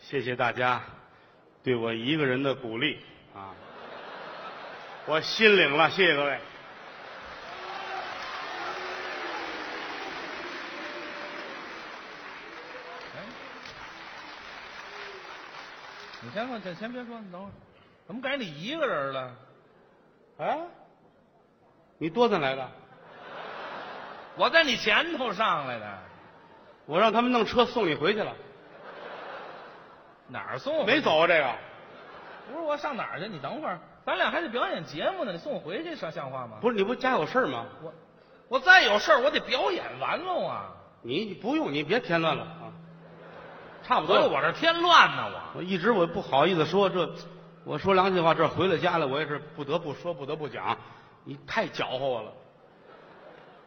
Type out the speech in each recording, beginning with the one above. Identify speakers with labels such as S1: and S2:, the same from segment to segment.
S1: 谢谢大家对我一个人的鼓励啊，我心领了，谢谢各位。
S2: 哎你先说，先先别说，你等会儿，怎么改你一个人了？啊
S1: 哎，你多咱来的？
S2: 我在你前头上来的，
S1: 我让他们弄车送你回去了，
S2: 哪儿送我？
S1: 没，走啊这个。
S2: 不是我上哪儿去？你等会儿，咱俩还得表演节目呢，你送我回去，像像话吗？
S1: 不是你不家有事儿吗？
S2: 我，我再有事儿，我得表演完喽啊！
S1: 你不用，你别添乱了啊。差不多
S2: 所以
S1: 了，
S2: 哎我这添乱呢，我
S1: 我一直我不好意思说这，我说良心话，这回了家了，我也是不得不说，不得不讲，你太搅和我了。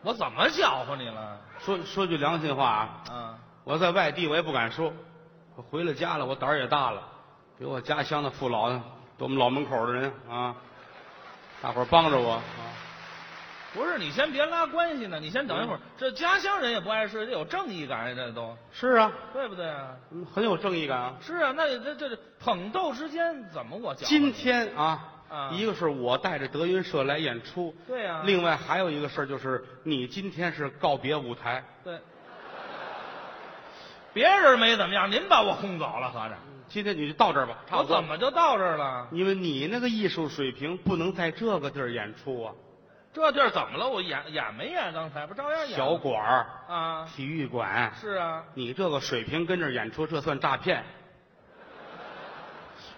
S2: 我怎么搅和你了？
S1: 说说句良心话啊，
S2: 啊，
S1: 我在外地我也不敢说，我回了家了，我胆儿也大了，给我家乡的父老，给我们老门口的人啊，大伙儿帮着我。啊
S2: 不是，你先别拉关系呢，你先等
S1: 嗯
S2: 一会儿。这家乡人也不碍事，这有正义感呀，这都
S1: 是啊，
S2: 对不对啊？
S1: 嗯很有正义感啊。
S2: 是啊，那这这这捧逗之间怎么我搅和你？
S1: 今天啊，
S2: 啊
S1: 一个是我带着德云社来演出，
S2: 对啊，
S1: 另外还有一个事儿就是你今天是告别舞台，
S2: 对，别人没怎么样，您把我轰走了，合着
S1: 今天你就到这儿吧，差
S2: 我
S1: 不多
S2: 怎。么就到这儿了？
S1: 因为你那个艺术水平不能在这个地儿演出啊，
S2: 这地儿怎么了？我演演没演？刚才不照样演吗？
S1: 小馆儿、
S2: 啊，
S1: 体育馆，
S2: 是啊，
S1: 你这个水平跟这儿演出，这算诈骗，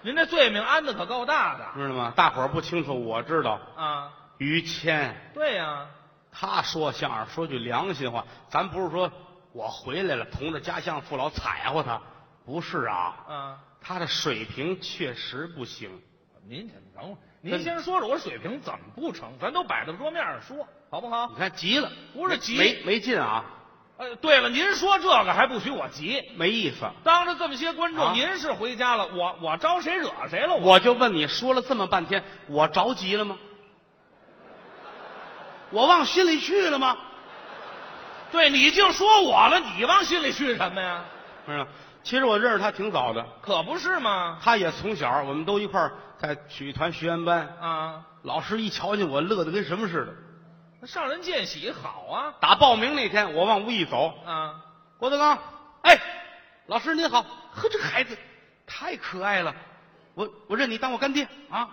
S2: 您这罪名安的可够大的
S1: 知道吗？大伙儿不清楚，我知道。
S2: 啊！
S1: 于谦
S2: 对呀、
S1: 他说相声，说句良心话，咱不是说我回来了，同着家乡父老踩乎他，不是啊，
S2: 啊，
S1: 他的水平确实不行。
S2: 您等会儿，您先说说我水平怎么不成？咱都摆到桌面上说，好不好
S1: 你？看急了，
S2: 不是急
S1: 没没劲啊，
S2: 呃，对了，您说这个还不许我急，
S1: 没意思。
S2: 当着这么些观众，
S1: 啊
S2: 您是回家了，我我招谁惹谁了？我
S1: 我就问你，说了这么半天，我着急了吗？我往心里去了吗？
S2: 对你净说我了，你往心里去什么呀？
S1: 嗯，其实我认识他挺早的，
S2: 可不是吗？
S1: 他也从小我们都一块儿在曲艺团学员班，
S2: 啊，
S1: 老师一瞧见我乐得跟什么似的。
S2: 那上人见喜好啊
S1: 打报名那天，我往屋一走，
S2: 啊！
S1: 郭德纲，哎，老师您好，呵，这孩子太可爱了，我我认你当我干爹啊，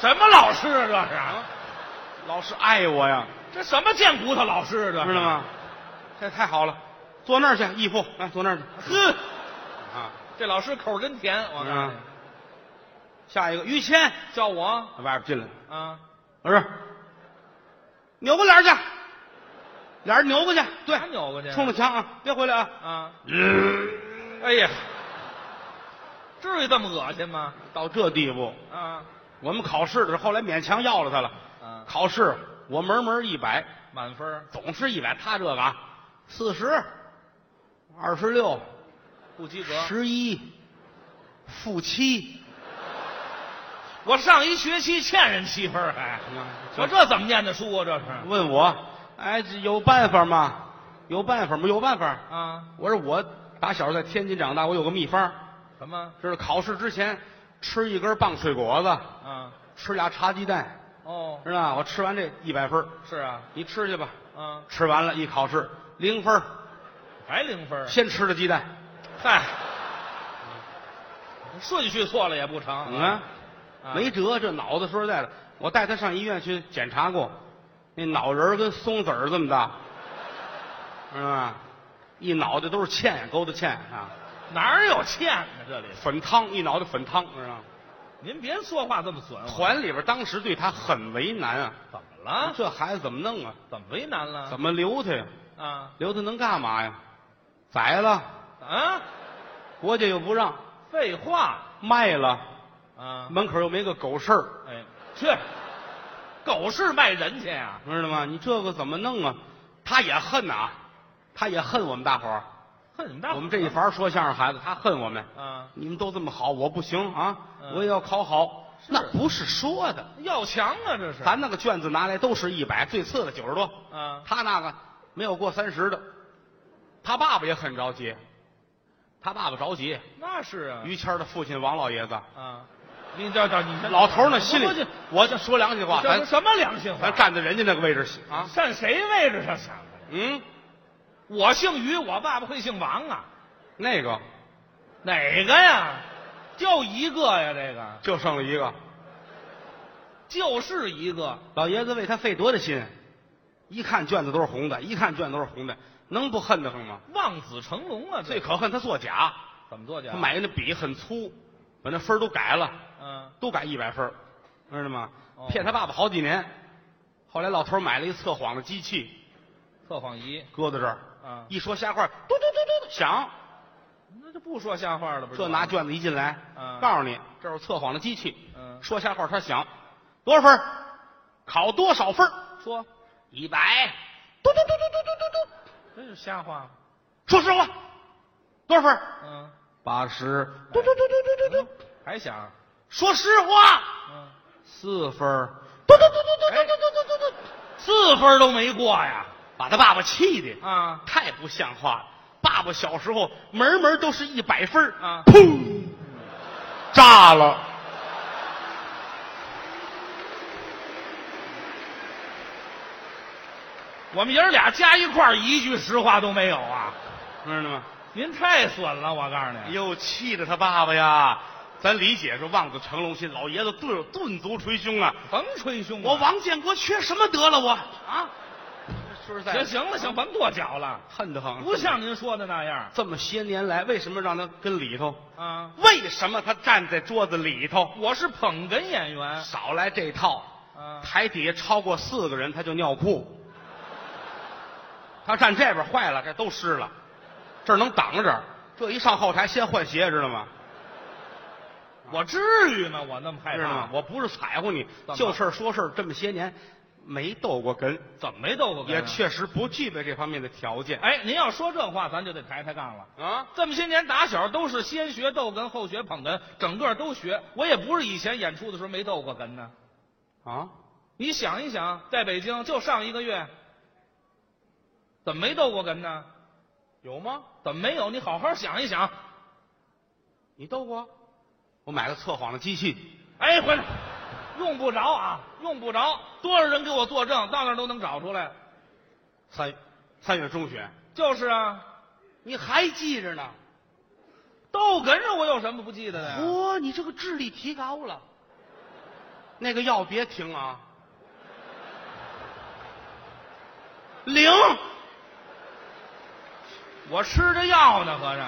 S2: 什么老师啊？这是啊
S1: 老师爱我呀，
S2: 这什么贱骨头老师啊？这是
S1: 知道？吗？这太好了，坐那儿去，义父，来坐那儿去
S2: 呵，
S1: 啊。
S2: 这老师口真甜，我告诉
S1: 啊
S2: 你，
S1: 下一个于谦，
S2: 叫我
S1: 外边进来了，
S2: 啊，
S1: 老师，扭过脸去，脸儿扭过去，对
S2: 还，扭过去
S1: 冲着嗯墙啊，别回来啊！
S2: 啊！哎呀，至于这么恶心吗？
S1: 到这地步，
S2: 啊
S1: 我们考试的时候，后来勉强要了他了。
S2: 啊，
S1: 考试我门门一百，
S2: 满分儿
S1: 总是一百，他这个啊，四十、二十六、
S2: 不及格。
S1: 十一、负七，
S2: 我上一学期欠人七分儿还，
S1: 嗯
S2: 我这怎么念的书啊？这是
S1: 问我，哎，这有办法吗？有办法吗？有办法。
S2: 啊？
S1: 我说我打小在天津长大，我有个秘方。
S2: 什么
S1: 知道考试之前吃一根棒水果子，
S2: 啊？
S1: 吃俩茶鸡蛋，
S2: 哦，
S1: 知道吧？我吃完这一百分儿，
S2: 是啊，
S1: 你吃去吧。
S2: 啊，
S1: 吃完了，一考试零分儿，
S2: 还零分儿？
S1: 先吃的鸡蛋，
S2: 嗨，顺序错了也不成
S1: 怎么了？
S2: 啊
S1: 嗯没辙，这脑子说实在的，我带他上医院去检查过，那脑仁儿跟松子儿这么大，知道吧？一脑袋都是芡，勾的芡啊，
S2: 哪儿有欠呢？这里，
S1: 粉汤，一脑袋粉汤，知道吗？
S2: 您别说话这么损我。
S1: 团里边当时对他很为难啊，
S2: 怎么了？
S1: 这孩子怎么弄啊？
S2: 怎么为难了？
S1: 怎么留他呀？
S2: 么啊
S1: 留他能干嘛呀？宰了，
S2: 啊？
S1: 国家又不让，
S2: 废话
S1: 卖了，
S2: 啊！
S1: 门口又没个狗市儿，
S2: 哎，去，狗是卖人去啊呀、
S1: 知道吗？你这个怎么弄啊？他也恨呐、他也恨我们大伙儿。
S2: 恨你们大伙儿
S1: 我们这一房说相声孩子，他恨我们。
S2: 啊，
S1: 你们都这么好，我不行啊，
S2: 嗯
S1: 我也要考好。那不是说的，
S2: 要强啊，这是
S1: 咱那个卷子拿来都是一百，最次的九十多，
S2: 啊，
S1: 他那个没有过三十的。他爸爸也很着急，他爸爸着急，
S2: 那是啊，
S1: 于谦儿的父亲王老爷子，
S2: 啊，你这这你先
S1: 老头儿呢
S2: 不
S1: 心里
S2: 不这，
S1: 我就说良心话，
S2: 这
S1: 咱
S2: 是什么良心话？
S1: 咱站在人家那个位置啊，
S2: 站谁位置上想的？
S1: 嗯，
S2: 我姓于，我爸爸会姓王啊？
S1: 那个
S2: 哪个呀？就一个呀，这个
S1: 就剩了一个，
S2: 就是一个。
S1: 老爷子为他费多大心，一看卷子都是红的，一看卷子都是红的，能不恨得慌吗？
S2: 望子成龙啊，
S1: 最
S2: 这
S1: 可恨他作假，
S2: 怎么啊作假？
S1: 他买那笔很粗，把那分儿都改了，
S2: 嗯，
S1: 都改一百分儿，知道吗
S2: 哦？
S1: 骗他爸爸好几年，后来老头儿买了一测谎的机器，
S2: 测谎仪
S1: 搁在这儿，
S2: 啊，
S1: 一说瞎话，嘟嘟嘟嘟嘟响。
S2: 那就不说瞎话了，不是？
S1: 这拿卷子一进来，
S2: 嗯
S1: 告诉你啊这是测谎的机器，
S2: 嗯
S1: 说瞎话他想多少分儿，考多少分儿，
S2: 说，
S1: 一百，嘟嘟嘟嘟嘟嘟嘟嘟，
S2: 这是瞎话。
S1: 说实话，多少分儿？
S2: 嗯，
S1: 八十，嘟嘟嘟嘟嘟嘟嘟，
S2: 还想，
S1: 说实话，
S2: 嗯，
S1: 四分儿，嘟嘟嘟嘟嘟
S2: 哎
S1: 嘟嘟嘟嘟嘟，
S2: 四分都没过呀！
S1: 把他爸爸气的
S2: 啊，
S1: 太不像话了。爸爸小时候门门都是一百分儿
S2: 啊
S1: 砰，炸了。
S2: 我们爷儿俩加一块儿一句实话都没有啊！
S1: 知道吗？
S2: 您太损了，我告诉你。
S1: 又气着他爸爸呀！咱理解说望子成龙心，老爷子顿顿足捶胸啊！
S2: 甭捶胸了
S1: 我王建国缺什么得了我啊？说实在嗯
S2: 行
S1: 的，
S2: 行了，行，甭跺脚了，
S1: 恨得很。
S2: 不像您说的那样
S1: 这么些年来，为什么让他跟里头？
S2: 啊。
S1: 为什么他站在桌子里头？
S2: 我是捧哏演员
S1: 少来这套！
S2: 啊，
S1: 台底下超过四个人，他就尿裤。他站这边坏了，这都湿了，这儿能挡着。这一上后台，先换鞋，知道吗？
S2: 我至于吗？我那么害
S1: 知道
S2: 怕
S1: 吗？？我不是踩乎你
S2: 么，
S1: 就事儿说事儿，这么些年没斗过哏，
S2: 怎么没斗过哏啊
S1: 也确实不具备这方面的条件。
S2: 哎，您要说这话，咱就得抬抬杠了。
S1: 啊，
S2: 这么些年打小都是先学逗哏，后学捧哏，整个都学。我也不是以前演出的时候没逗过哏呢。
S1: 啊，
S2: 你想一想，在北京就上一个月，怎么没逗过哏呢？
S1: 有吗？
S2: 怎么没有？你好好想一想。
S1: 你斗过？我买个测谎的机器，
S2: 哎，回来，用不着啊，用不着，多少人给我作证，到那儿都能找出来。
S1: 三三月中旬，
S2: 就是啊，
S1: 你还记着呢？
S2: 逗哏上我有什么不记得的呀？
S1: 嚯、你这个智力提高了。那个药别停啊，零。
S2: 我吃着药呢，合着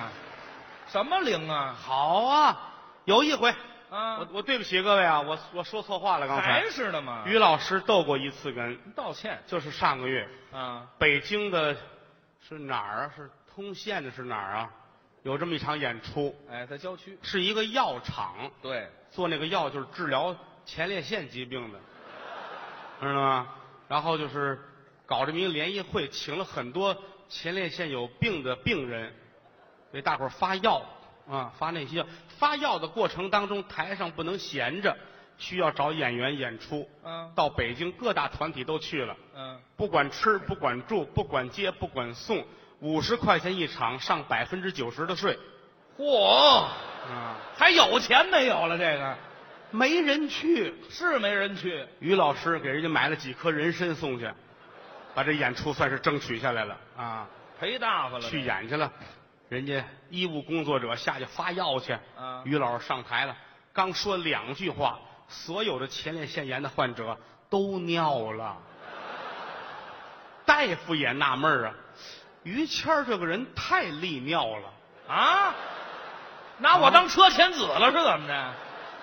S2: 什么灵啊？
S1: 好啊，有一回，
S2: 啊，
S1: 我我对不起各位啊，我我说错话了，刚才
S2: 还是的嘛，
S1: 于老师斗过一次哏，
S2: 道歉
S1: 就是上个月，
S2: 啊，
S1: 北京的是哪儿啊？是通县的是哪儿啊？有这么一场演出，
S2: 哎，在郊区，
S1: 是一个药厂
S2: 对，
S1: 做那个药，就是治疗前列腺疾病的，知道吗？然后就是搞这么一个联谊会，请了很多前列腺有病的病人，给大伙儿发药啊，发那些药。发药的过程当中，台上不能闲着，需要找演员演出。
S2: 嗯
S1: 到北京各大团体都去了。
S2: 嗯，
S1: 不管吃，不管住，不管接，不管送，五十块钱一场，上百分之九十的税，
S2: 嚯，
S1: 啊，
S2: 还有钱没有了？这个
S1: 没人去。
S2: 是没人去，
S1: 于老师给人家买了几颗人参送去，把这演出算是争取下来了啊，
S2: 赔大发了，
S1: 去演去了。人家医务工作者下去发药去，
S2: 啊
S1: 于老师上台了，刚说两句话，所有的前列腺炎的患者都尿了。大夫也纳闷儿啊，于谦儿这个人太利尿了。
S2: 啊，拿我当车前子了是怎么着？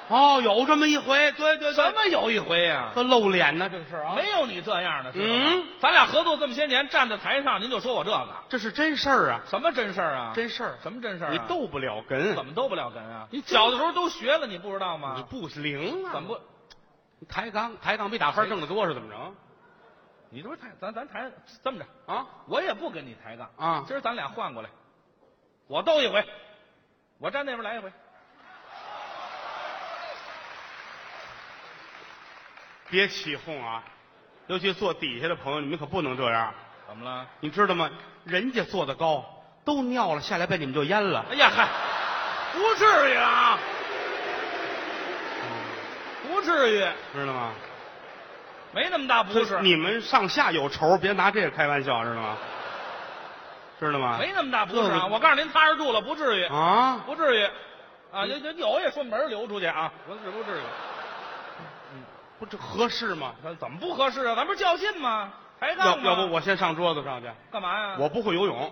S1: 哦，有这么一回，对对
S2: 什
S1: 对，
S2: 么有一回呀？
S1: 这露脸呢，这个事儿啊，
S2: 没有你这样的，知道吗
S1: 嗯，
S2: 咱俩合作这么些年，站在台上您就说我这个，
S1: 这是真事儿啊，
S2: 什么真事儿啊？
S1: 真事儿，
S2: 什么真事儿啊？
S1: 你斗不了哏，
S2: 怎么斗不了哏啊？你小的时候都学了，你不知道
S1: 你
S2: 吗？
S1: 不灵啊？
S2: 怎么不？
S1: 不抬杠？抬杠比打分挣得多是怎么着？
S2: 你这不是抬，咱咱抬这么着，
S1: 啊
S2: 我也不跟你抬杠
S1: 啊
S2: 今儿咱俩换过来，我斗一回，我站那边来一回，
S1: 别起哄啊！尤其坐底下的朋友，你们可不能这样，
S2: 怎么了？
S1: 你知道吗？人家坐的高，都尿了下来，被你们就淹了。
S2: 哎呀嗨，不至于啊，不至于，
S1: 知道吗？
S2: 没那么大不
S1: 所以
S2: 是，
S1: 你们上下有仇，别拿这个开玩笑，知道吗？知道吗？
S2: 没那么大不是
S1: 就是
S2: 啊。我告诉您，踏实住了，不至于，
S1: 嗯啊，
S2: 不至于，啊，有有有也顺门流出去啊，不是不至于，
S1: 不这合适吗？
S2: 咱怎么不合适啊？咱不是较劲吗？抬
S1: 要
S2: 杠吗？
S1: 要不我先上桌子上去，
S2: 干嘛呀？
S1: 我不会游泳。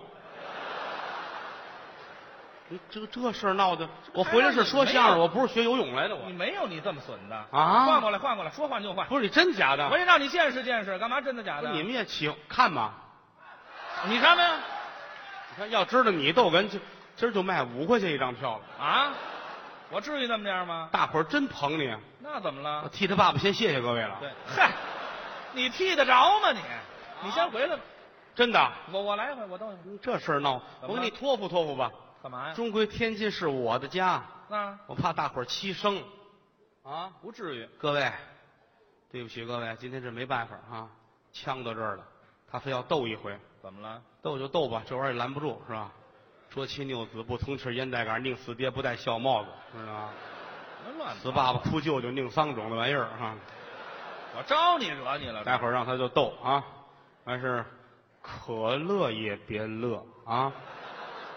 S1: 你这这事儿闹的，我回来是说相声，我不是学游泳来的，我
S2: 你没有你这么损的
S1: 啊
S2: 换过来，换过来，说换就换。
S1: 不是你真假的
S2: 我？也让你见识见识，干嘛真的假
S1: 不
S2: 的？
S1: 是你们也起看嘛？
S2: 你看没有？
S1: 你看，要知道你逗哏，今今儿就卖五块钱一张票了，
S2: 啊，我至于那么样吗？
S1: 大伙儿真捧你。
S2: 那怎么
S1: 我
S2: 了？
S1: 替他爸爸先谢谢各位了
S2: 啊对，，嗨，你替得着吗你？你先回来吧，
S1: 真的。
S2: 我我来一回，我等一会儿。
S1: 这事儿闹，
S2: 怎
S1: 我
S2: 么
S1: 给
S2: 了嗯
S1: 你托付托付吧。
S2: 干嘛呀？啊
S1: 终归天津是我的家，
S2: 那
S1: 我怕大伙儿欺生。啊，
S2: 不至于，
S1: 各位，对不起各位，今天这没办法啊，呛到这儿了，他非要斗一回，
S2: 怎么了？
S1: 斗就斗吧，这玩意儿也拦不住是吧？说妻拗子，不通吃烟带杆，宁死爹不戴孝帽子，知道吗？
S2: 别乱
S1: 死
S2: 说，
S1: 爸爸哭舅舅，宁丧种的玩意儿啊！
S2: 我招你惹你了？
S1: 待会儿让他就斗啊，完事儿可乐也别乐啊，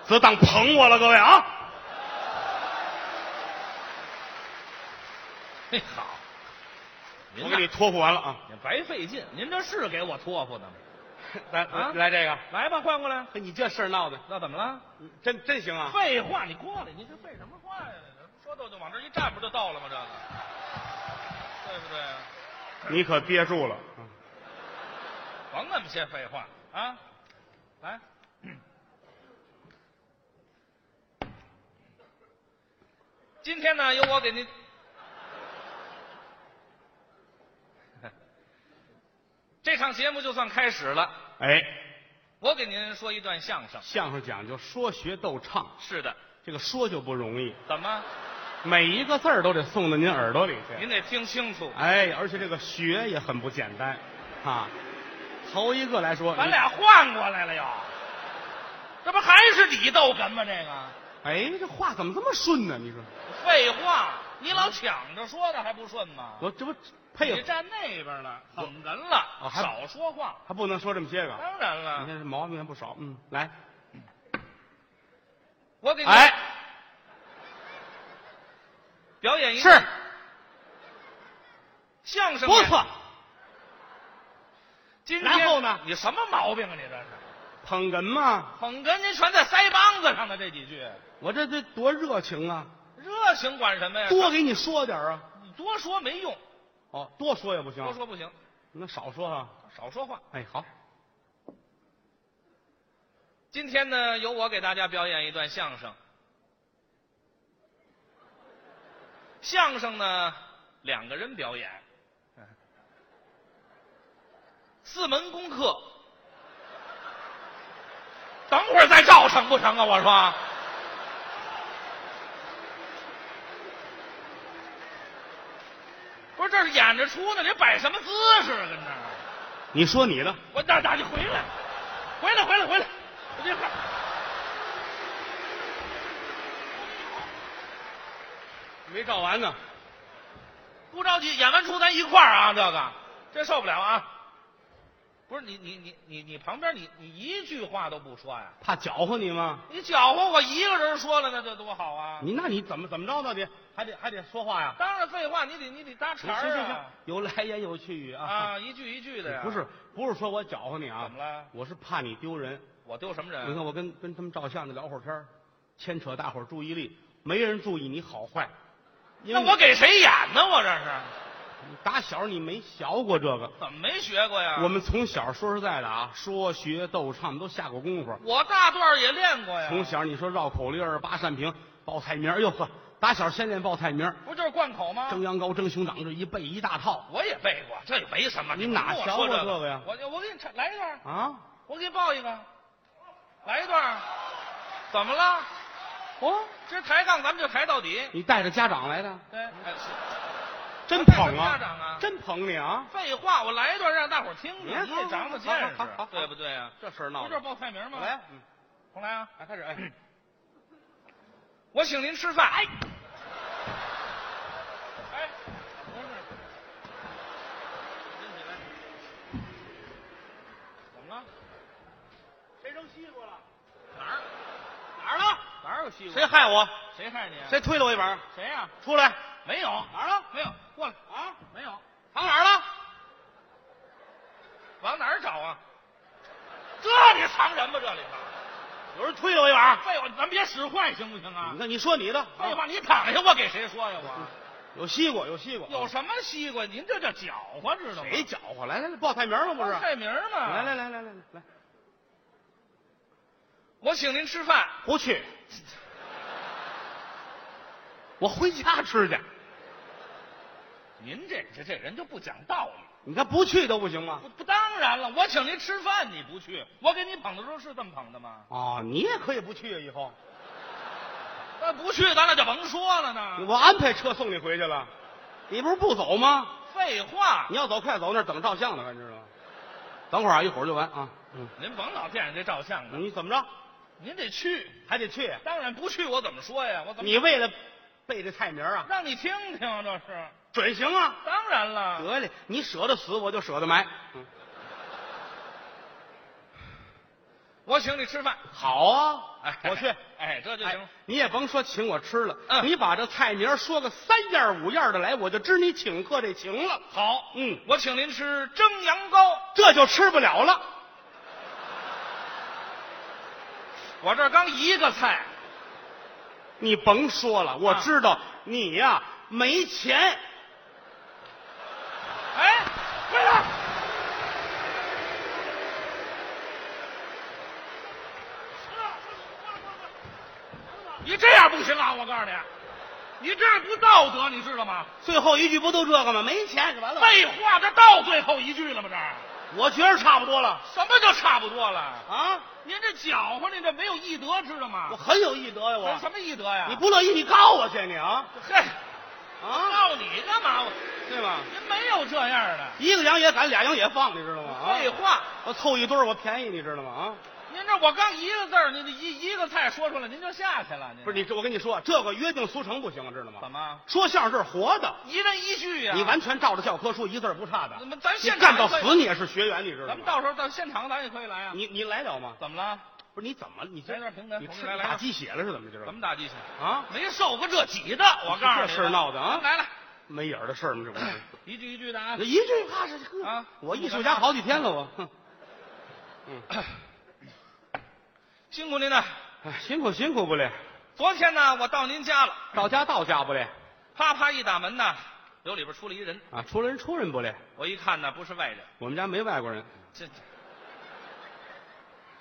S1: 只当捧我了，各位啊！
S2: 嘿，好，您
S1: 我给
S2: 呐
S1: 你托付完了啊，
S2: 您白费劲，您这是给我托付的吗？
S1: 来、
S2: 啊
S1: 来这个。
S2: 来吧，换过来。
S1: 嘿你这事儿闹的，
S2: 那怎么了？
S1: 真真行啊！
S2: 废话，你过来，你这废什么话呀？说到就往这一站，不就到了吗？这个，对不对啊？
S1: 你可憋住了。
S2: 甭那么些废话啊！来，今天呢，由我给您，这场节目就算开始了。
S1: 哎，
S2: 我给您说一段相声。
S1: 相声讲究说学逗唱，
S2: 是的，
S1: 这个说就不容易，
S2: 怎么？
S1: 每一个字儿都得送到您耳朵里去。
S2: 您得听清楚。啊
S1: 哎，而且这个学也很不简单啊。头一个来说，
S2: 咱
S1: 你
S2: 俩换过来了又，这不还是你逗哏吗？这个
S1: 哎，这话怎么这么顺呢？你说
S2: 废话，你老抢着说的还不顺吗？
S1: 嗯我这不
S2: 你
S1: 配合，
S2: 站那边了，
S1: 我
S2: 捧哏了，
S1: 哦还
S2: 少说话。
S1: 还不能说这么些个。
S2: 当然
S1: 你
S2: 了，
S1: 看这毛病还不少。嗯，来，
S2: 我给你
S1: 哎，
S2: 表演一
S1: 是
S2: 段相声。
S1: 不错。，
S2: 今天
S1: 然后呢
S2: 你什么毛病啊？你这是
S1: 捧哏嘛，
S2: 捧哏，您全在腮帮子上的这几句，
S1: 我这这多热情啊！
S2: 热情管什么呀？
S1: 多给你说点儿啊。
S2: 你多说没用，
S1: 哦，多说也不行，
S2: 多说不行，
S1: 那少说啊。
S2: 少说话。
S1: 哎，好，
S2: 今天呢，由我给大家表演一段相声。相声呢，两个人表演，四门功课。等会儿再照成不成啊？我说，不是，这是演着出呢，这摆什么姿势啊？跟这儿。
S1: 你说你的，
S2: 我大大你回来，回来，回来，回来，我这块儿。
S1: 没照完呢。
S2: 不着急，演完出咱一块儿啊，这个这受不了啊！不是你你你你你旁边你你一句话都不说呀？
S1: 怕搅和你吗？
S2: 你搅和我一个人说了，那这多好啊！
S1: 你那你怎么怎么着到底还得还得说话呀？
S2: 当然废话，你得你得搭茬
S1: 行
S2: 儿
S1: 行行
S2: 啊，
S1: 有来言有去语啊。
S2: 啊，一句一句的呀。
S1: 不是不是说我搅和你啊，
S2: 怎么了？
S1: 我是怕你丢人。
S2: 我丢什么
S1: 你
S2: 人？啊
S1: 看我跟跟他们照相的聊会儿天儿牵扯大伙儿注意力，没人注意你好坏。因
S2: 那
S1: 为
S2: 我给谁演呢？我这是
S1: 你打小你没学过这个，
S2: 怎么没学过呀？
S1: 我们从小说实在的啊，说学逗唱都下过功夫。
S2: 我大段儿也练过呀。
S1: 从小你说绕口令儿、八扇屏、报菜名儿，哎呦呵，打小先练报菜名儿，
S2: 不就是贯口吗？
S1: 蒸羊羔、蒸熊掌，这一背一大套
S2: 我也背过，这也没什么。
S1: 你
S2: 不
S1: 哪
S2: 跟我
S1: 学
S2: 说
S1: 过
S2: 这
S1: 这个呀
S2: 我就我给你唱来一段，
S1: 啊！
S2: 我给你报一个，来一段。怎么了？
S1: 哦，
S2: 这抬杠咱们就抬到底。
S1: 你带着家长来的，
S2: 对，哎是
S1: 真
S2: 我带
S1: 捧
S2: 着家
S1: 啊，
S2: 长啊，
S1: 真捧你啊！
S2: 废话，我来一段让大伙儿听听，
S1: 哎
S2: 你也长长见
S1: 好好好好
S2: 识
S1: 好，
S2: 对不对啊？
S1: 这事儿
S2: 不
S1: 闹
S2: 就是
S1: 的，
S2: 报菜名吗？
S1: 来，嗯
S2: 重来啊！
S1: 来开始，哎，
S2: 我请您吃饭。哎，哎，不是，您起来，怎么了？
S1: 谁扔西瓜了？
S2: 哪儿
S1: 哪儿了？
S2: 哪儿有西瓜？
S1: 谁害我？
S2: 谁害你啊？
S1: 谁推了我一把？
S2: 谁呀、
S1: 出来！
S2: 没有，
S1: 哪儿了？
S2: 没有，过来，
S1: 啊，
S2: 没有，
S1: 藏哪儿了？
S2: 往哪儿找啊？这你藏人吧？这里头，
S1: 有人推了我一把。
S2: 废话，咱别使坏行不行啊
S1: 你？哎看，你说你的，
S2: 废话，你躺下，我给谁说呀？我。
S1: 有西瓜，有西瓜，
S2: 有什么西瓜？您这叫搅和，知道吗？
S1: 嗯谁搅和？来来来，报菜名了不是？
S2: 菜名儿啊嘛。
S1: 来来，来来来来，
S2: 我请您吃饭。
S1: 不去，我回家吃去。
S2: 您这这这人就不讲道理。
S1: 你看不去都不行啊吗
S2: 不？不，当然了，我请您吃饭你不去，我给你捧的时候是这么捧的吗？
S1: 哦，你也可以不去啊，以后
S2: 那不去，咱俩就甭说了呢。
S1: 我安排车送你回去了。你不是不走吗？
S2: 废话，
S1: 你要走快走，那儿等照相呢，知道吗？等会儿啊，一会儿就完啊。嗯，
S2: 您甭老惦记这照相了，
S1: 你怎么着
S2: 您得去。
S1: 还得去？啊
S2: 当然不去，我怎么说呀？我怎么
S1: 你为了背这菜名啊，
S2: 让你听听啊？这是
S1: 准行啊？
S2: 当然了，
S1: 得嘞，你舍得死我就舍得埋。嗯，
S2: 我请你吃饭。
S1: 好啊，
S2: 哎，
S1: 我去。
S2: 哎，这就行
S1: 哎。，你也甭说请我吃了，
S2: 嗯
S1: 你把这菜名说个三样五样的来，我就知你请客这情了。
S2: 好，
S1: 嗯，
S2: 我请您吃蒸羊羔。
S1: 这就吃不了了。
S2: 我这儿刚一个菜，
S1: 你甭说了，我
S2: 啊
S1: 知道你呀、没钱。
S2: 哎，回来！ 你这样不行啊！我告诉你，你这样不道德，你知道吗？
S1: 最后一句不都这个吗？没钱就完了。
S2: 废话，这到最后一句了吗？这儿
S1: 我觉着差不多了
S2: 什么叫差不多了？
S1: 啊！
S2: 您这搅和，您这没有义德，知道吗
S1: 我？很有义德呀、
S2: 这
S1: 我。
S2: 什么义德呀？
S1: 你不乐意，你告我去，你啊
S2: 嘿，
S1: 啊，
S2: 告你干嘛？我
S1: 对吧？
S2: 您没有这样的。
S1: 一个羊也赶，俩羊也放，你知道吗？啊，
S2: 废话，哎
S1: 我凑一堆儿，我便宜，你知道吗？啊。
S2: 您这我刚一个字儿，您这一一个菜说出来，您就下去了。您
S1: 不是你，这我跟你说，这个约定俗成不行，知道吗？
S2: 怎么
S1: 说相声是活的，
S2: 一人一句呀、
S1: 你完全照着教科书一字儿不差的
S2: 怎。么咱
S1: 你
S2: 现
S1: 干
S2: 场
S1: 到
S2: 也可以
S1: 死，你也是学员，你知道吗？
S2: 咱们到时候到现场咱也可以来啊。
S1: 你你来了吗？
S2: 怎么了？
S1: 不是你怎么了你这
S2: 来段评弹
S1: 你吃
S2: 同志来来
S1: 打
S2: 段
S1: 鸡血了是怎么着？
S2: 怎么打鸡血？
S1: 啊？
S2: 没受过这挤的，我告诉你，
S1: 这事儿闹的啊
S2: 来了，
S1: 没影儿的事儿吗？ 这不是？
S2: 一句一句的啊
S1: 那。一句话是呵
S2: 啊
S1: 我艺术家好几天了，我。哼嗯，
S2: 辛苦您了。
S1: 哎，辛苦辛苦不嘞？
S2: 昨天呢，我到您家了，
S1: 到家到家不嘞？
S2: 啪啪一打门呢，有里边出了一人，
S1: 啊，出人出人不嘞？
S2: 我一看呢，不是外人，
S1: 我们家没外国人，
S2: 这这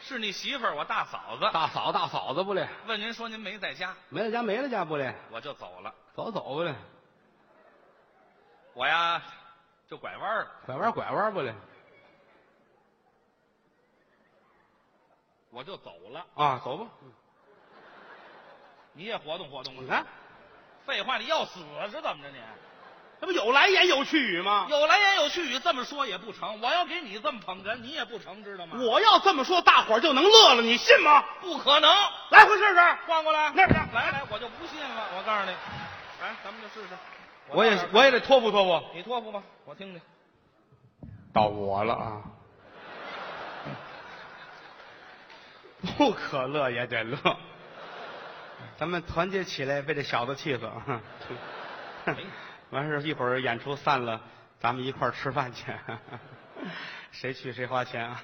S2: 是你媳妇儿，我大嫂子。
S1: 大嫂大嫂子不嘞？
S2: 问您说您没在家，
S1: 没了家没了家不嘞？
S2: 我就走了。
S1: 走走不嘞？
S2: 我呀，就拐弯儿了，
S1: 拐弯拐弯不嘞？
S2: 我就走了。
S1: 啊，走吧。
S2: 你也活动活动吧。
S1: 你看，
S2: 废话，你要死是怎么着你？
S1: 这不有来言有去语吗？
S2: 有来言有去语，这么说也不成。我要给你这么捧哏，你也不成，知道吗？
S1: 我要这么说，大伙儿就能乐了，你信吗？
S2: 不可能，
S1: 来回试试。
S2: 换过来，
S1: 那边
S2: 来来，我就不信了。我告诉你，来，咱们就试试。
S1: 我
S2: 到
S1: 也
S2: 这儿
S1: 我也得托付托付。
S2: 你托付吧，我听听。
S1: 到我了啊， 不可乐也得乐。咱们团结起来，被这小子气死。完事儿一会儿演出散了，咱们一块儿吃饭去，谁去谁花钱 啊？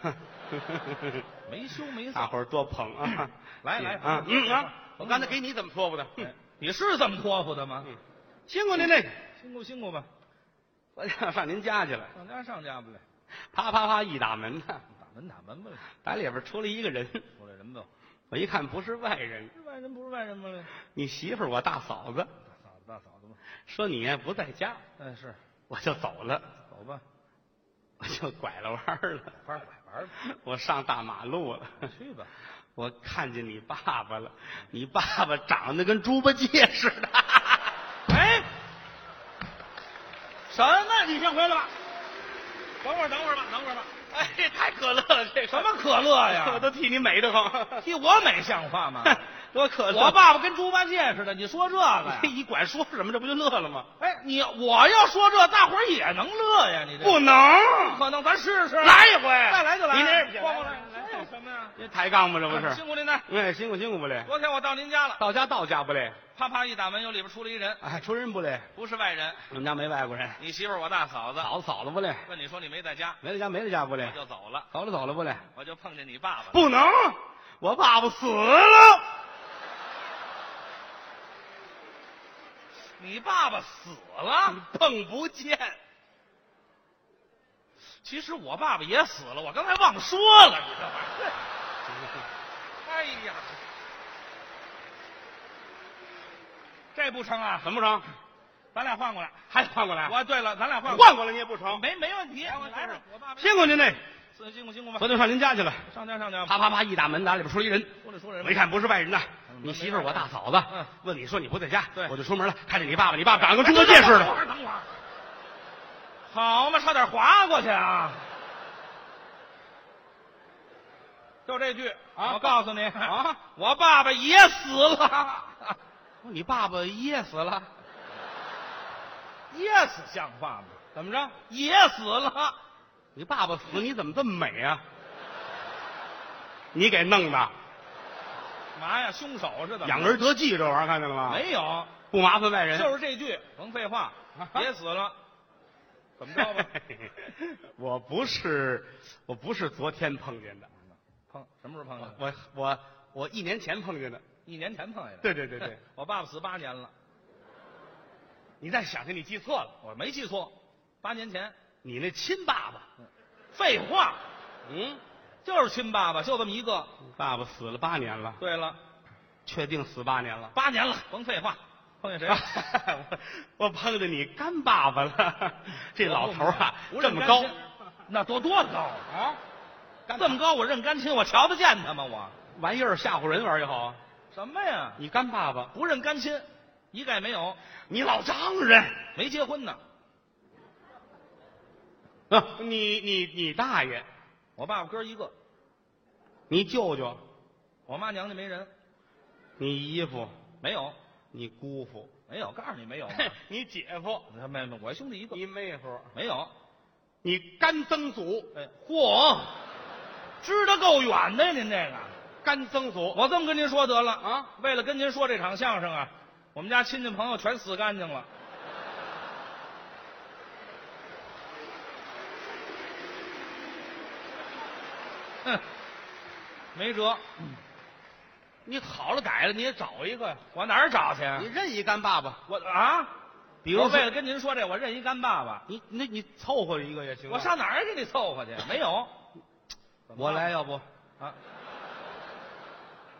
S2: 没羞没
S1: 大
S2: 臊，
S1: 伙儿多捧啊！
S2: 来来
S1: 啊，
S2: 甭
S1: 嗯
S2: 客气
S1: 啊，我
S2: 甭客气
S1: 刚才给你怎么托付的？
S2: 哎你是这么托付的吗？
S1: 嗯辛苦您嘞，
S2: 辛苦辛苦吧，
S1: 我要上您家去了。
S2: 上家上家不来，
S1: 啪啪啪一打门呢，
S2: 打门打门不来，
S1: 打里边出来一个人，
S2: 出来人不？
S1: 我一看不是外人，
S2: 是外人不是外人不来，
S1: 你媳妇儿我大嫂子
S2: 大嫂子大嫂子吧。
S1: 说你呀不在家，
S2: 哎是，
S1: 我就走了，
S2: 走吧，
S1: 我就拐了弯儿了，
S2: 玩拐玩吧，
S1: 我上大马路了，
S2: 去吧。
S1: 我看见你爸爸了，你爸爸长得跟猪八戒似 的，
S2: 哎，什么？你先回来吧。等会儿，等会儿吧，等会儿吧。
S1: 哎，这太可乐了，这个
S2: 什么可乐呀
S1: 我都替哎 你美得慌，
S2: 替我美像话吗？
S1: 多可乐！
S2: 我爸爸跟猪八戒似的，你说这个呀
S1: 这？一管说什么，这不就乐了吗？
S2: 哎，你我要说这，大伙儿也能乐呀？你这
S1: 不能，
S2: 可能，咱试试，
S1: 来一回，
S2: 再来就来。
S1: 您这
S2: 晃过来，这有
S1: 来，
S2: 什么呀？啊
S1: 这抬杠吗？这不是？
S2: 辛苦您了。
S1: 哎，辛苦辛苦不嘞？
S2: 昨天我到您家了，
S1: 到家到家不嘞？
S2: 啪啪一打门，由里边出来一人，
S1: 哎，出人不嘞？
S2: 不是外人，
S1: 我们家没外国人，
S2: 你媳妇儿我大嫂子。
S1: 嫂子嫂子不嘞？
S2: 问你说你没在家，
S1: 没在家没在家不
S2: 我
S1: 嘞？
S2: 就走了，
S1: 嫂子嫂子不嘞？
S2: 我就碰见你爸爸了。
S1: 不能，我爸爸死了，
S2: 你爸爸死了。
S1: 碰不见。
S2: 其实我爸爸也死了，我刚才忘说了，你这玩意儿。 哎呀，这不成啊！
S1: 怎么着？
S2: 咱俩换过来。
S1: 还换过来？
S2: 我对了，咱俩换过来
S1: 啊换过来你也不成。
S2: 没没问题。
S1: 来我
S2: 你来
S1: 试
S2: 吧
S1: 试，
S2: 我爸爸
S1: 辛苦您嘞，
S2: 辛辛苦辛苦吧
S1: 昨。天上您家去了，
S2: 上家上家，
S1: 啪啪啪一打门，打里边出来一人，
S2: 出来出来。
S1: 我一看不是外人呐，
S2: 嗯
S1: 你媳妇儿我大嫂子
S2: 嗯，
S1: 问你说你不在家
S2: 对，
S1: 我就出门了，看见你爸爸，你爸爸长得
S2: 哎，
S1: 跟猪八戒似
S2: 等会儿
S1: 的，
S2: 等会儿， 好嘛，差点划过去啊！就这句
S1: 啊
S2: 我告诉你
S1: 啊，
S2: 我爸爸也死 了，
S1: 你爸爸噎死了，
S2: 也死像话吗？
S1: 怎么着？
S2: 也死 了，
S1: 你爸爸死，你怎么这么美啊？你给弄的，
S2: 嘛呀？凶手是怎么着
S1: 养儿得计这玩意儿看见了吗？
S2: 没有，
S1: 不麻烦外人，
S2: 就是这句，甭 废话，也死了，怎么着吧？
S1: 我不是，我不是昨天碰见的，
S2: 碰什么时候碰见 的？
S1: 我我我一年前碰见的。
S2: 一年前碰见的。
S1: 对对对对，
S2: 我爸爸死八年了，
S1: 你再想想，你记错了，
S2: 我没记错，八年前。
S1: 你那亲爸爸，
S2: 废话，
S1: 嗯，
S2: 就是亲爸爸，就这么一个。
S1: 爸爸死了八年了，
S2: 对了，
S1: 确定死八年了。
S2: 八年了，甭废话，碰见谁了？
S1: 我 我碰见你干爸爸了， 这老头儿啊
S2: 我
S1: 这
S2: 认
S1: 么
S2: 干
S1: 高
S2: 亲，那多多高啊！
S1: 干
S2: 这么高，我认干亲，我瞧得见他吗？我
S1: 玩意儿吓唬人玩意儿好啊。
S2: 什么呀？
S1: 你干爸爸，
S2: 不认干亲，一概没有，
S1: 你老丈人，
S2: 没结婚呢。
S1: 啊，你你你大爷，
S2: 我爸爸哥一个，
S1: 你舅舅，
S2: 我妈娘家没人，
S1: 你姨父，
S2: 没有，
S1: 你姑父，
S2: 没有，告诉你 没有啊。
S1: 你姐夫，
S2: 没没没，我兄弟一 个，
S1: 你妹夫，
S2: 没有。
S1: 你干曾祖，
S2: 哎，嚯，支得够远的呀，您这个。
S1: 干曾祖
S2: 我这么跟您说得了
S1: 啊，
S2: 为了跟您说这场相声啊，我们家亲戚朋友全死干净了。哼，没辙，
S1: 你好了歹了，你也找一个呀，
S2: 我哪儿找去啊
S1: 你？认一干爸爸，
S2: 我啊，
S1: 比如
S2: 我为
S1: 说
S2: 了跟您说这，我认一干爸爸，
S1: 你那你凑合一个也行啊。
S2: 我上哪儿给你凑合去？没有，
S1: 我来，要不
S2: 啊！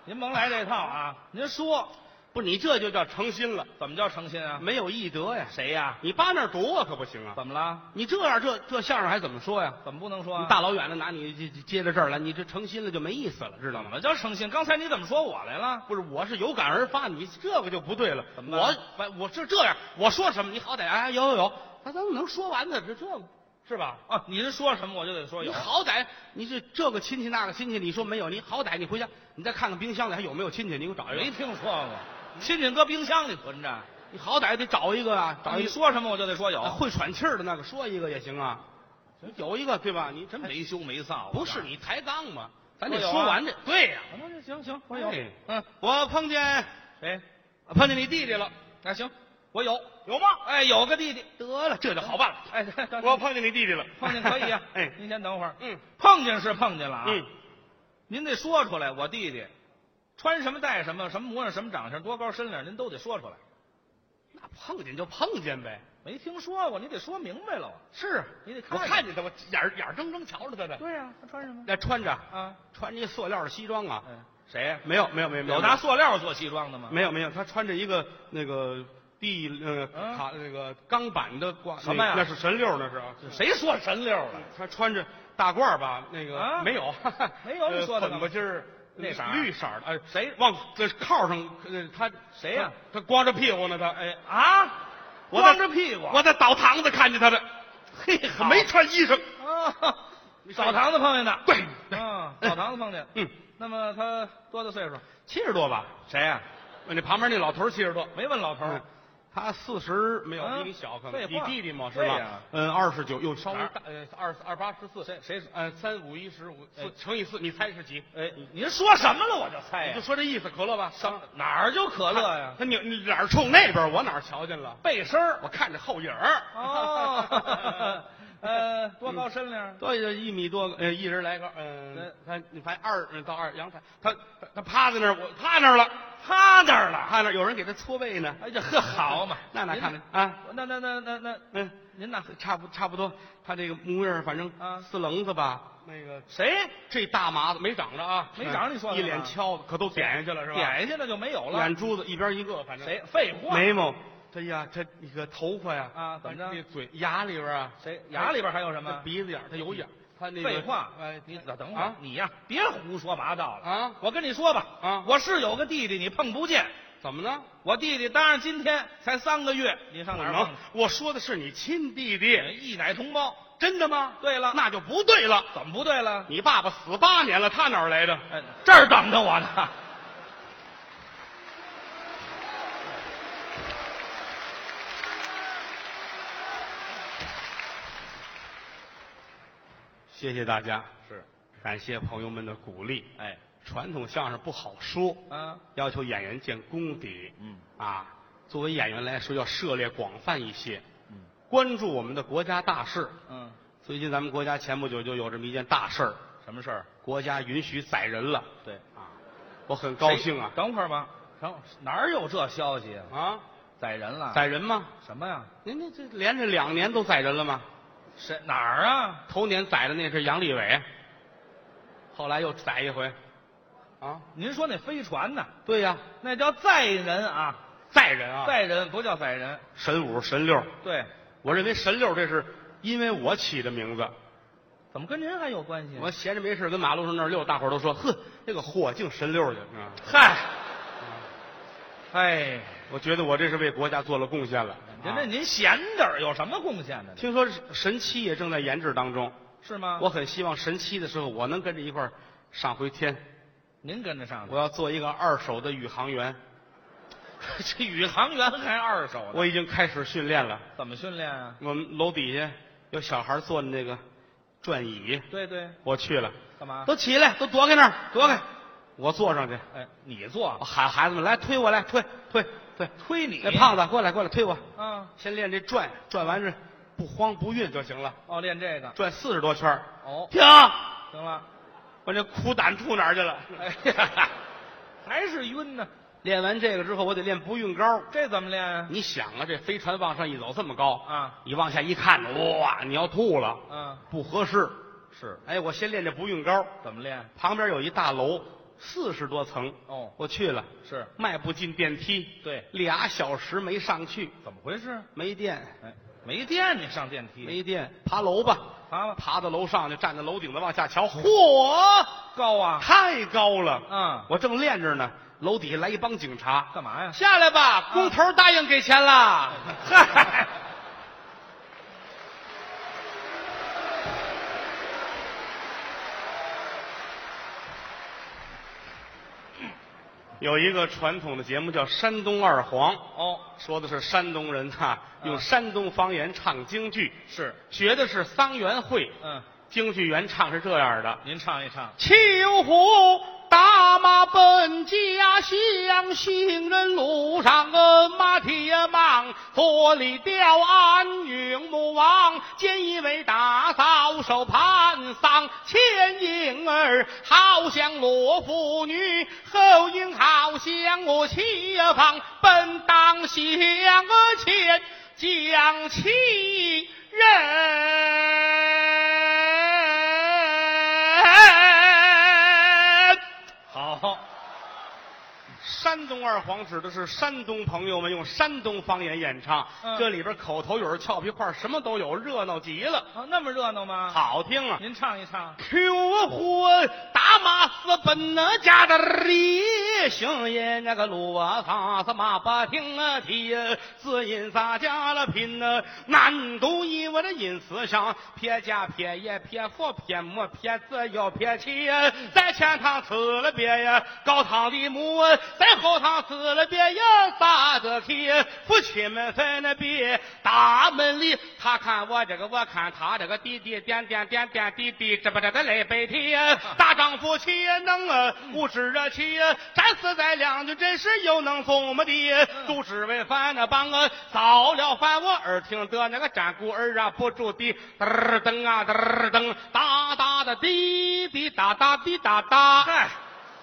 S2: 您甭来这套啊！您说
S1: 不，你这就叫诚心了，
S2: 怎么叫诚心啊？
S1: 没有义德呀。
S2: 谁呀、
S1: 你扒那儿堵我可不行啊！
S2: 怎么了？
S1: 你这样这这相声还怎么说呀？
S2: 怎么不能说、啊？
S1: 你大老远的拿你接接到这儿来，你这诚心了就没意思了，知道
S2: 怎
S1: 吗？
S2: 么叫诚心？刚才你怎么说我来了？
S1: 不是，我是有感而发，你这个就不对了。
S2: 怎么
S1: 我
S2: 办
S1: 我我是这样，我说什么你好歹哎有有有，他怎么能说完呢？这这是吧？
S2: 啊，您说什么我就得说
S1: 你
S2: 有。
S1: 好歹你这这个亲戚那个亲戚，你说没有，你好歹你回家你再看看冰箱里还有没有亲戚，你给我找一个。
S2: 没听说过，亲戚搁冰箱里囤着，
S1: 哎你好歹得找一个啊，找一
S2: 你
S1: 个
S2: 说什么我就得说有。
S1: 啊会喘气儿的那个，说一个也行哎啊。你有一个对吧？你真没
S2: 羞没臊
S1: 不是，你抬杠嘛？咱
S2: 我
S1: 得
S2: 有啊
S1: 说完这。对呀，
S2: 啊那行行，我
S1: 哎
S2: 有。嗯，
S1: 我碰见呃
S2: 谁？
S1: 碰见你弟弟了，
S2: 那行，我有。
S1: 有吗？
S2: 哎，有个弟弟，
S1: 得了，这就好办了。
S2: 哎， 等等
S1: 我碰见你弟弟了，。
S2: 碰见可以啊
S1: 哎，
S2: 您先等会儿。
S1: 嗯
S2: 碰见是碰见了啊。
S1: 嗯，
S2: 您得说出来，我弟弟穿什么戴什么，什么模样，什么长相，多高身量，您都得说出来。
S1: 那碰见就碰见呗。
S2: 没听说过，你得说明白了。
S1: 是啊，
S2: 你得看
S1: 我看见他，我眼儿眼睁睁瞧着他呢。
S2: 对呀，他穿什么？
S1: 那穿着
S2: 啊，
S1: 穿着一塑料的西装啊？
S2: 嗯，谁呀？
S1: 没有没有没有没
S2: 有拿塑料做西装的吗？
S1: 没有没有，他穿着一个那个地呃
S2: 嗯
S1: 卡那个钢板的挂
S2: 什么呀
S1: 那那是神六那是啊。
S2: 谁说神溜了？
S1: 他穿着大褂儿吧，那个、
S2: 啊
S1: 没有，
S2: 没有你说的
S1: 呃
S2: 干嘛
S1: 粉不筋儿，
S2: 那色儿啊
S1: 绿色儿的，哎，
S2: 谁
S1: 往这靠上，呃他
S2: 谁呀
S1: 他他光着屁股呢，他哎，
S2: 啊？
S1: 我
S2: 光
S1: 在
S2: 着屁股，啊
S1: 我在澡堂子看见他的，
S2: 嘿
S1: 没穿衣裳，
S2: 啊哦，
S1: 你说
S2: 澡堂子碰见的，
S1: 对对
S2: 啊，澡堂子碰见。
S1: 嗯，
S2: 那么他多大岁数？
S1: 七十多吧？谁呀、问那旁边那老头七十多，
S2: 没问老头儿
S1: 嗯，他四十没有，
S2: 嗯
S1: 比你小，可
S2: 啊废
S1: 能
S2: 话
S1: 你弟弟嘛是
S2: 对
S1: 吧
S2: 呀？
S1: 嗯，二十九又稍微
S2: 哪儿
S1: 大，呃，二二八十四，
S2: 谁谁是？
S1: 呃，三五一十五，
S2: 哎
S1: 四乘以四，你猜是几？
S2: 哎，您说什么了？我就猜
S1: 你就
S2: 呀，
S1: 说这意思，可乐吧？上
S2: 哪儿就可乐 呀？
S1: 他扭你脸儿冲那边，我哪儿瞧见了？
S2: 背身儿
S1: 我看着后影儿。
S2: 哦，呃，多高身量？
S1: 多一米多，呃，一人来高，
S2: 对
S1: 嗯，他你排二嗯到二阳台，他他他趴在那儿，我趴那儿了，
S2: 趴那儿了。
S1: 趴那儿，有人给他搓背呢。
S2: 哎呀，呵，好嘛，
S1: 那哪
S2: 您
S1: 看得啊？
S2: 那那那那那，
S1: 嗯，
S2: 您哪？
S1: 差不差不多，他这个模样儿，反正
S2: 啊
S1: 四棱子吧，那个
S2: 谁
S1: 这大麻子没长着啊，
S2: 没长着你说的
S1: 一脸
S2: 吗
S1: 敲子，可都点下去了是吧？
S2: 点下去了就没有了？
S1: 眼珠子一边一个，反正
S2: 谁？废话。
S1: 眉毛，哎呀，这你个头发呀
S2: 啊怎么着
S1: 这嘴牙里边啊，
S2: 谁牙里边还有什
S1: 哎这
S2: 么？嗯
S1: 鼻子眼儿，他有眼儿，他那个
S2: 废话，
S1: 哎，
S2: 你等等会儿
S1: 啊，
S2: 你呀，别胡说八道了
S1: 啊
S2: 我跟你说吧，
S1: 啊
S2: 我是有个弟弟，你碰不见。
S1: 怎么呢？
S2: 我弟弟当然今天才三个月，你上哪儿
S1: 不
S2: 碰
S1: 能？我说的是你亲弟弟，
S2: 去？一奶同胞。
S1: 真的吗？
S2: 对啊了，
S1: 那就不对了。
S2: 怎么不对了？
S1: 你爸爸死八年了，他哪儿来的？
S2: 哎，这儿等着我呢。
S1: 谢谢大家，
S2: 是，
S1: 感谢朋友们的鼓励。
S2: 哎，
S1: 传统相声不好说，
S2: 啊，
S1: 要求演员见功底
S2: 嗯
S1: 啊。作为演员来说，要涉猎广泛一些，
S2: 嗯
S1: 关注我们的国家大事。
S2: 嗯，
S1: 最近咱们国家前不久就有这么一件大事儿，
S2: 什么事儿？
S1: 国家允许宰人了
S2: 对，
S1: 啊！我很高兴啊
S2: 谁等会儿吧，等哪儿有这消息啊？
S1: 啊！
S2: 宰人了？
S1: 宰人吗？
S2: 什么呀？
S1: 您这这连着两年都宰人了吗？
S2: 谁哪儿啊？
S1: 头年宰的那是杨利伟，后来又宰一回，啊，
S2: 您说那飞船呢？
S1: 对呀，
S2: 那叫载人啊，
S1: 宰人啊，
S2: 载人不叫宰人。
S1: 神五神六，
S2: 对，
S1: 我认为神六这是因为我起的名字，
S2: 怎么跟您还有关系？
S1: 我闲着没事跟马路上那儿溜，大伙儿都说，呵，那个货净神六去，啊，
S2: 嗨，哎，
S1: 我觉得我这是为国家做了贡献了。
S2: 您这
S1: 啊
S2: 您闲着有什么贡献呢？
S1: 听说神七也正在研制当中，
S2: 是吗？
S1: 我很希望神七的时候我能跟着一块儿上回天，
S2: 您跟着上去
S1: 我，要做一个二手的宇航员，
S2: 这宇航员还二手呢，
S1: 我已经开始训练了。
S2: 怎么训练啊？
S1: 我们楼底下有小孩坐的那个转椅，
S2: 对对，
S1: 我去了，
S2: 干嘛？
S1: 都起来，都躲开那儿，躲开，我坐上去，
S2: 哎，你坐
S1: 我，喊孩子们来推我来，推推推，
S2: 推你
S1: 那胖子过来过来推我，
S2: 啊，
S1: 先练这转，转完是不慌不晕就行了，
S2: 哦，练这个，
S1: 转四十多圈儿
S2: 哦，
S1: 停，
S2: 行了，
S1: 我这苦胆吐哪儿去了？
S2: 哎呀，还是晕呢，
S1: 练完这个之后，我得练不孕膏。
S2: 这怎么练啊？
S1: 你想啊，这飞船往上一走这么高
S2: 啊，
S1: 你往下一看，哇，你要吐了，
S2: 嗯，
S1: 不合适。
S2: 是，
S1: 哎，我先练这不孕膏。
S2: 怎么练？
S1: 旁边有一大楼，四十多层，
S2: 哦，
S1: 我去了，
S2: 是，
S1: 迈不进电梯，
S2: 对，
S1: 俩小时没上去，
S2: 怎么回事？
S1: 没电，
S2: 哎，没电，你上电梯，
S1: 没电，爬楼吧，
S2: 爬吧，
S1: 爬到楼上去，站在楼顶子往下瞧，嚯，
S2: 高啊，
S1: 太高了！
S2: 嗯，
S1: 我正练着呢，楼底下来一帮警察，
S2: 干嘛呀？
S1: 下来吧，工头答应给钱啦。
S2: 嗨，
S1: 有一个传统的节目叫《山东二黄》，
S2: 哦，
S1: 说的是山东人哈、用
S2: 嗯
S1: 山东方言唱京剧，
S2: 是，
S1: 学的是桑园会。
S2: 嗯，
S1: 京剧原唱是这样的：
S2: 您唱一唱，
S1: 秋湖大马奔家乡，行人路上鞍马铁棒，左里吊鞍云母王，见一位大嫂手盘桑，前影儿好像罗妇女，后影好像我妻房，本当向前将其人。
S2: 好，啊
S1: 山东二黄指的是山东朋友们用山东方言演唱，
S2: 嗯
S1: 这里边口头语儿、俏皮话儿什么都有，热闹极了，
S2: 啊，那么热闹吗？，
S1: 好听啊！
S2: 您唱一唱，
S1: 秋火打马是奔那家的里，也行也，那个路啊，他是马不停啊，提呀，只因咱家了贫呐，难度一我的因思上，撇家撇业撇父撇母撇子要撇妻呀，在前堂吃了别呀，高堂的母啊，在后堂吃了别呀，咋得起？夫妻们分了别，大门里他看我这个，我看他这个，弟弟点点点点滴滴，这不这个累背提呀，大丈夫气也能啊，无知热气呀，战死在两军，真是又能怎么的？主持为饭那帮啊，早了饭我耳听得那个战鼓儿啊不住地嘚儿噔啊嘚儿噔，哒哒的滴滴哒哒滴哒哒，
S2: 嗨，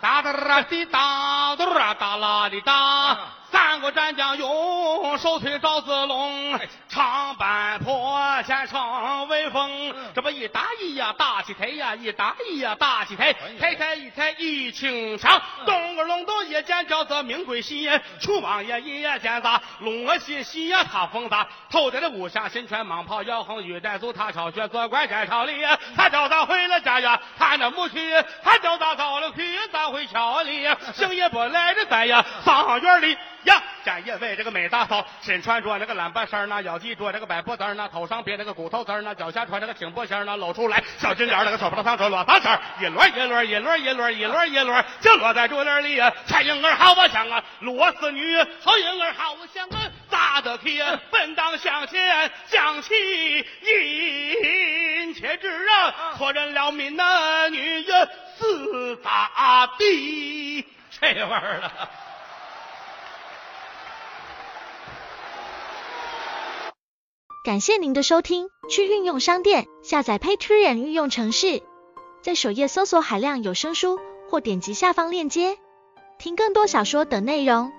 S1: 哒哒哒啊滴哒嘟啊哒啦哩哒
S2: 啊。
S1: 三国战将勇，手推赵子龙
S2: 哎，
S1: 长坂坡前逞威风。
S2: 嗯
S1: 这不一打一呀，打起台呀，一打一呀，打起台
S2: 哎呀，
S1: 台台一台一清强。东个龙头一见着这名贵戏呀，楚王爷一夜见他龙儿西西呀，他风大，头戴的五下神拳蟒袍摇横玉带足，他朝学做官山朝里呀，他叫咱回了家呀，他那母去，他叫咱到了去，咱回桥里呀，行也不来这咱呀，上院里呀。展叶为这个美大嫂，身穿着那个蓝白衫儿呢，腰系着这个白布子儿呢，头上别那个骨头子儿呢，脚下穿那个青布鞋儿呢，露出来小金莲儿那个手不头上着裸裆衫儿，一摞一摞一摞一摞一摞一摞，就落在竹林里呀。蔡英儿好我想啊，罗四女好英儿好我想啊，咋得起呀？本当向前向起引，且知啊，错认了民男女呀，是咋地？
S2: 这味儿的。
S3: 感谢您的收听，去运用商店下载 Patreon 运用城市，在首页搜索海量有声书，或点击下方链接听更多小说等内容。